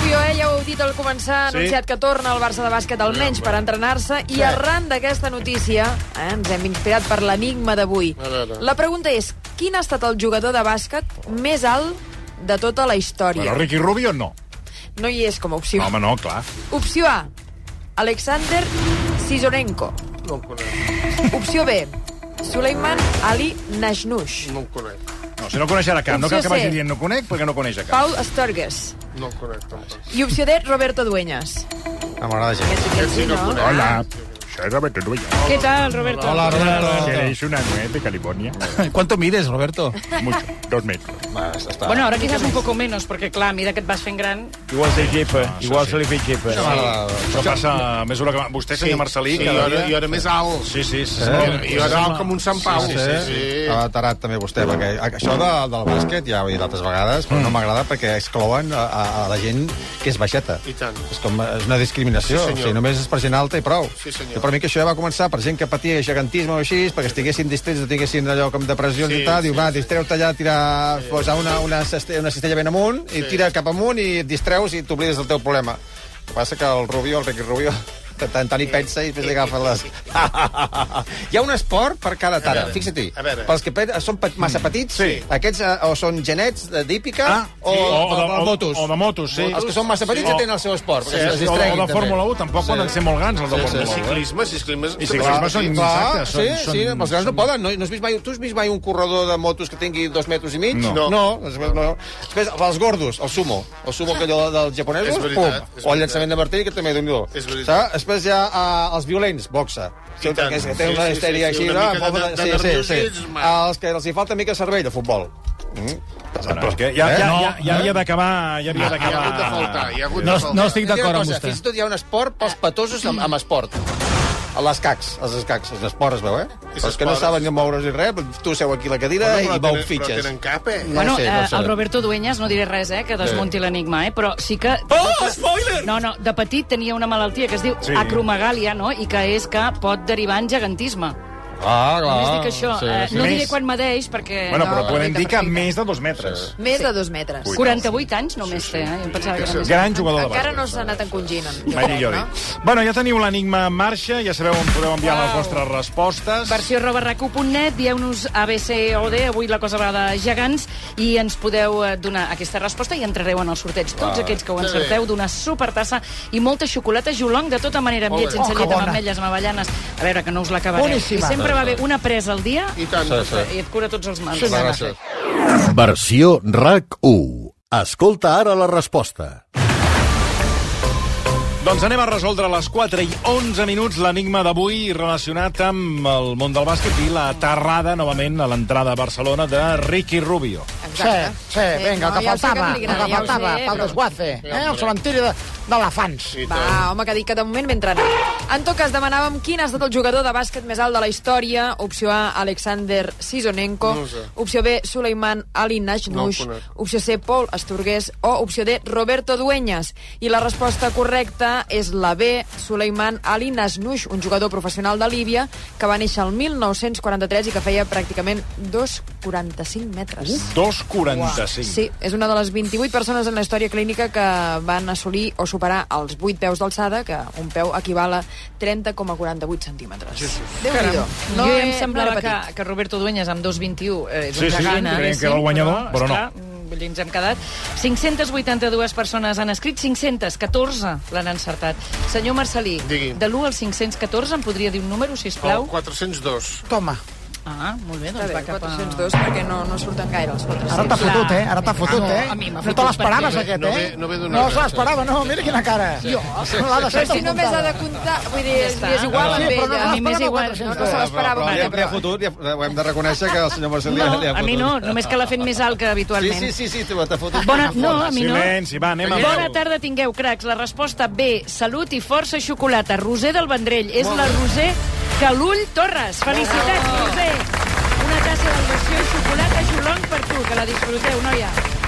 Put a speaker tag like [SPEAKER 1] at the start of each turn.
[SPEAKER 1] Gaudí al començar ha
[SPEAKER 2] Sí.
[SPEAKER 1] anunciat que torna al Barça de bàsquet almenys
[SPEAKER 2] Aviam,
[SPEAKER 1] per
[SPEAKER 2] va.
[SPEAKER 1] entrenar-se i
[SPEAKER 2] Sí.
[SPEAKER 1] arran d'aquesta notícia eh, ens hem inspirat per l'enigma d'avui.
[SPEAKER 2] A veure.
[SPEAKER 1] La pregunta és, quin ha estat el jugador de bàsquet més alt de tota la
[SPEAKER 3] Però
[SPEAKER 1] història?
[SPEAKER 3] Ricky Rubio no.
[SPEAKER 1] No hi és com a opció.
[SPEAKER 3] No, home, no, clar.
[SPEAKER 1] Opció A, Alexander Sisorenko.
[SPEAKER 2] No el conec,
[SPEAKER 1] Opció B, Suleiman Ali Najnush.
[SPEAKER 2] no el conec,
[SPEAKER 3] No, si no coneix ara cap, no cal
[SPEAKER 1] Opció
[SPEAKER 3] que vagi
[SPEAKER 1] C.
[SPEAKER 3] dient no conec, perquè no coneix a cap.
[SPEAKER 1] Pau Astorgues.
[SPEAKER 2] no el conec tampoc.
[SPEAKER 1] I opció D, Roberto Dueñas.
[SPEAKER 4] No m'agrada gens.
[SPEAKER 1] Que
[SPEAKER 2] sí, no conec.
[SPEAKER 3] Hola, això és Roberto Rubio.
[SPEAKER 5] ¿Qué tal, Roberto?
[SPEAKER 4] Hola, Roberto.
[SPEAKER 3] ¿Queréis una nuez de California?
[SPEAKER 4] ¿Cuánto mides, Roberto?
[SPEAKER 3] Mucho, dos metros.
[SPEAKER 4] Va, està.
[SPEAKER 5] Bueno, ahora quizás un poco menos, porque claro, mira que et vas fent gran.
[SPEAKER 4] Eh,
[SPEAKER 6] Igual se llepa, igual se li fa llepa.
[SPEAKER 4] Això m'agrada.
[SPEAKER 3] Ah, Això passa a mesura que... Eh? va- Vostè, senyor Marcelí,
[SPEAKER 2] Sí,
[SPEAKER 3] cada
[SPEAKER 2] jo, era,
[SPEAKER 3] dia...
[SPEAKER 2] jo era més alt.
[SPEAKER 3] Sí, sí, sí.
[SPEAKER 2] Jo
[SPEAKER 3] sí.
[SPEAKER 2] era- Jo era alt com un Sant Pau.
[SPEAKER 4] Sí, sí, Ah. sí. Ha tarat també vostè, perquè això de, del bàsquet ja ho he dit altres vegades,
[SPEAKER 2] Mm.
[SPEAKER 4] però no m'agrada perquè exclouen a, a, a la gent que és baixeta.
[SPEAKER 2] I tant.
[SPEAKER 4] És com és una discriminació.
[SPEAKER 2] Sí,
[SPEAKER 4] o
[SPEAKER 2] senyor.
[SPEAKER 4] sigui, només és per gent alta i prou.
[SPEAKER 2] Sí, senyor.
[SPEAKER 4] Jo per mi que això ja va començar per gent que patia gegantisme o així, perquè estiguessin distrets o tinguessin allò com depressions
[SPEAKER 2] Sí,
[SPEAKER 4] i tal,
[SPEAKER 2] sí,
[SPEAKER 4] diu, va, distreu-te allà, tira, sí. posa una, una, ceste, una cistella ben amunt, i tira cap amunt i et distreus i t'oblides del teu problema. El que passa que el Rubio, el Ricky Rubio, tant, tant hi pensa i després li agafa les... Hi ha un esport per cada tara,
[SPEAKER 2] veure,
[SPEAKER 4] fixa-t'hi.
[SPEAKER 2] a veure.
[SPEAKER 4] Pels que pe- són pe- massa petits,
[SPEAKER 3] Sí.
[SPEAKER 4] aquests eh, o són genets de- d'hípica
[SPEAKER 3] Ah,
[SPEAKER 4] o,
[SPEAKER 3] sí. O- o de-
[SPEAKER 4] de,
[SPEAKER 3] o-
[SPEAKER 4] motos.
[SPEAKER 3] o de motos, sí.
[SPEAKER 4] Els que són massa petits
[SPEAKER 3] Sí.
[SPEAKER 4] ja tenen el seu esport,
[SPEAKER 3] Sí,
[SPEAKER 4] perquè es
[SPEAKER 3] o, o
[SPEAKER 4] distreguin.
[SPEAKER 3] de
[SPEAKER 4] també.
[SPEAKER 3] Fórmula 1 tampoc poden ser molt grans, els de
[SPEAKER 4] Sí,
[SPEAKER 2] I
[SPEAKER 3] Fórmula eh, 1.
[SPEAKER 2] ciclisme, sí, ciclisme...
[SPEAKER 3] I ciclisme són
[SPEAKER 4] Clar,
[SPEAKER 3] Exacte,
[SPEAKER 4] sí,
[SPEAKER 3] són-
[SPEAKER 4] sí,
[SPEAKER 3] són-
[SPEAKER 4] els grans no
[SPEAKER 3] són-
[SPEAKER 4] poden. No, no has vist mai, tu has vist mai un corredor de motos que tingui dos metres i mig?
[SPEAKER 3] No.
[SPEAKER 4] No, no. no. Després, els gordos, el sumo. El sumo que allò dels japonesos,
[SPEAKER 2] És veritat,
[SPEAKER 4] pum.
[SPEAKER 2] és
[SPEAKER 4] O
[SPEAKER 2] veritat.
[SPEAKER 4] el llançament de martell, que també, déu nhi
[SPEAKER 2] És veritat.
[SPEAKER 4] Després hi ha eh, els violents, boxa.
[SPEAKER 2] I tant.
[SPEAKER 4] que, és, que tenen
[SPEAKER 2] Sí,
[SPEAKER 4] una
[SPEAKER 2] sí, sí, sí, una
[SPEAKER 4] histèria així.
[SPEAKER 2] mica de- de- de nerviosisme.
[SPEAKER 4] Els que els hi falta mica cervell, de futbol. Mm.
[SPEAKER 3] Però és que ja, ja, ja, ja havia d'acabar... Eh? Ah, Ja havia
[SPEAKER 2] Hi ha hagut de faltar,
[SPEAKER 3] d'acabar...
[SPEAKER 2] hi ha hagut
[SPEAKER 7] No,
[SPEAKER 2] de faltar.
[SPEAKER 7] no estic
[SPEAKER 4] Una
[SPEAKER 7] d'acord amb
[SPEAKER 4] cosa,
[SPEAKER 7] vostè.
[SPEAKER 4] Fins i tot hi ha un esport pels petosos amb, amb esport. A les cacs, els escacs, els esports, es veu, eh?
[SPEAKER 2] És
[SPEAKER 4] Els que no
[SPEAKER 2] esports.
[SPEAKER 4] saben ni moure's ni res, doncs tu seu aquí a la cadira
[SPEAKER 2] Però
[SPEAKER 4] i
[SPEAKER 2] tenen-
[SPEAKER 4] vau
[SPEAKER 2] Però
[SPEAKER 4] fitxes.
[SPEAKER 2] tenen cap, eh?
[SPEAKER 4] No
[SPEAKER 5] bueno,
[SPEAKER 4] sé, no
[SPEAKER 5] eh,
[SPEAKER 4] sé.
[SPEAKER 5] el Roberto Dueñas, no diré res, eh, que desmunti l'enigma, eh, però sí que...
[SPEAKER 4] Oh, spoiler!
[SPEAKER 5] No, no, de petit tenia una malaltia que es diu
[SPEAKER 3] Sí.
[SPEAKER 5] sí. acromegàlia, no?, i que és que pot derivar en gegantisme.
[SPEAKER 4] Ah, clar.
[SPEAKER 5] Només dic això.
[SPEAKER 4] Sí,
[SPEAKER 5] eh,
[SPEAKER 4] sí.
[SPEAKER 5] no
[SPEAKER 3] Més.
[SPEAKER 5] diré quan medeix, perquè...
[SPEAKER 3] Bueno,
[SPEAKER 5] no,
[SPEAKER 3] però
[SPEAKER 5] una
[SPEAKER 3] podem
[SPEAKER 5] mica
[SPEAKER 3] dir que
[SPEAKER 5] petita.
[SPEAKER 3] més de dos metres.
[SPEAKER 1] Més de dos metres.
[SPEAKER 5] 48 anys només té, eh? Jo em pensava que era més.
[SPEAKER 3] Gran jugador de bàsquet.
[SPEAKER 1] Encara no s'ha anat encongint. em
[SPEAKER 3] Mari
[SPEAKER 1] crec,
[SPEAKER 3] Llori.
[SPEAKER 1] no?
[SPEAKER 3] Bueno, ja teniu l'enigma en marxa, ja sabeu on podeu enviar les vostres respostes.
[SPEAKER 5] Versió arroba racu.net, dieu-nos ABCOD, avui la cosa va de gegants, i ens podeu eh, donar aquesta resposta i entrareu en els sorteig. Tots aquests que ho encerteu, d'una supertassa i molta xocolata Jolong, de tota manera, amb
[SPEAKER 4] Oh,
[SPEAKER 5] llet, sense llet, amb ametlles, amb avellanes. A veure, que no us l'acabareu. I sempre va bé una presa al dia
[SPEAKER 2] I tant.
[SPEAKER 4] Sí, sí.
[SPEAKER 5] i et cura tots els mals.
[SPEAKER 4] Clar, gràcies.
[SPEAKER 8] Versió RAC 1. Escolta ara la resposta.
[SPEAKER 3] Doncs anem a resoldre a les 4 i 11 minuts l'enigma d'avui relacionat amb el món del bàsquet i la terrada, novament, a l'entrada a Barcelona de Ricky Rubio.
[SPEAKER 1] Exacte. Eh,
[SPEAKER 9] Sí, sí, venga, el que
[SPEAKER 1] ja ho sé
[SPEAKER 9] faltava,
[SPEAKER 1] li
[SPEAKER 9] el
[SPEAKER 1] agrada,
[SPEAKER 9] que
[SPEAKER 1] ja ho
[SPEAKER 9] faltava,
[SPEAKER 1] sé,
[SPEAKER 9] pel
[SPEAKER 1] però-
[SPEAKER 9] desguace, eh? El cementiri de- d'elefants.
[SPEAKER 2] I tant.
[SPEAKER 1] Va, home, que dic que de moment mentre anar. En tot cas, demanàvem quin ha estat el jugador de bàsquet més alt de la història. Opció A, Alexander Sisonenko.
[SPEAKER 2] No ho sé.
[SPEAKER 1] Opció B, Suleiman Ali Najnush.
[SPEAKER 2] No ho conec.
[SPEAKER 1] opció C, Paul Asturgués. O opció D, Roberto Dueñas. I la resposta correcta és la B, Suleiman Ali Najnush, un jugador professional de Líbia que va néixer el 1943 i que feia pràcticament 2,45 metres.
[SPEAKER 3] 2,45.
[SPEAKER 1] Sí, és una de les 28 persones en la història clínica que van assolir o superar els 8 peus d'alçada, que un peu equival a 30,48 centímetres. Déu-n'hi-do.
[SPEAKER 5] No, jo ja em
[SPEAKER 1] era-
[SPEAKER 5] semblava
[SPEAKER 1] no era
[SPEAKER 5] que,
[SPEAKER 1] petit.
[SPEAKER 5] que Roberto Dueñas amb 2,21 eh, és
[SPEAKER 3] Sí,
[SPEAKER 5] un
[SPEAKER 3] sí,
[SPEAKER 5] gegant.
[SPEAKER 3] creiem
[SPEAKER 5] diguéssim,
[SPEAKER 3] que era el guanyador, però no.
[SPEAKER 5] esclar, mm, vull dir, ens hem quedat. 582 persones han escrit, 514 l'han encertat. Senyor Marcelí,
[SPEAKER 2] Digui.
[SPEAKER 5] de l'1 al 514 em podria dir un número, si
[SPEAKER 2] El
[SPEAKER 5] plau?
[SPEAKER 2] 402.
[SPEAKER 9] Toma,
[SPEAKER 5] Oh, Ah, molt bé,
[SPEAKER 1] Està
[SPEAKER 5] doncs
[SPEAKER 1] bé,
[SPEAKER 5] va cap a...
[SPEAKER 1] 402, perquè no, no surten gaire els
[SPEAKER 9] ara t'ha
[SPEAKER 1] 400.
[SPEAKER 5] Clar.
[SPEAKER 9] fotut, eh? Ara t'ha fotut,
[SPEAKER 5] No,
[SPEAKER 9] eh?
[SPEAKER 5] a mi m'ha
[SPEAKER 9] No
[SPEAKER 5] fotut
[SPEAKER 9] te l'esperaves,
[SPEAKER 5] perquè-
[SPEAKER 9] aquest,
[SPEAKER 2] No
[SPEAKER 9] eh?
[SPEAKER 2] ve- no ve d'una
[SPEAKER 9] No se
[SPEAKER 2] gràcia.
[SPEAKER 9] l'esperava, no, mira quina cara. Jo, l'ha de
[SPEAKER 1] Però
[SPEAKER 9] ser
[SPEAKER 1] si només ha de
[SPEAKER 9] apuntada.
[SPEAKER 1] comptar, vull dir, és,
[SPEAKER 5] està.
[SPEAKER 1] és igual
[SPEAKER 9] Ah, sí,
[SPEAKER 1] amb
[SPEAKER 9] però no
[SPEAKER 1] ella.
[SPEAKER 9] se
[SPEAKER 1] A mi m'és
[SPEAKER 9] l'esperava
[SPEAKER 1] igual, no,
[SPEAKER 9] 400.
[SPEAKER 1] no se l'esperava.
[SPEAKER 4] Però li ha,
[SPEAKER 1] vaja,
[SPEAKER 4] li ha
[SPEAKER 1] però-
[SPEAKER 4] fotut, li ha, ho hem de reconèixer que el senyor Marcelí
[SPEAKER 5] No,
[SPEAKER 4] li ha
[SPEAKER 5] a
[SPEAKER 4] fotut.
[SPEAKER 5] mi no, només que l'ha fet més alt que
[SPEAKER 4] Sí,
[SPEAKER 5] habitualment.
[SPEAKER 4] sí, sí, sí, t'ha t'ha fotut.
[SPEAKER 5] Bona, no, a mi no.
[SPEAKER 3] Silenci, va, anem a
[SPEAKER 5] Bona
[SPEAKER 3] veu.
[SPEAKER 5] tarda, tingueu, cracs. La resposta B, salut i força i xocolata. Roser del Vendrell. És la Roser Calull Torres. Felicitats, Roser. Una tassa de loció i xocolata Jolong per tu, que la disfruteu, noia.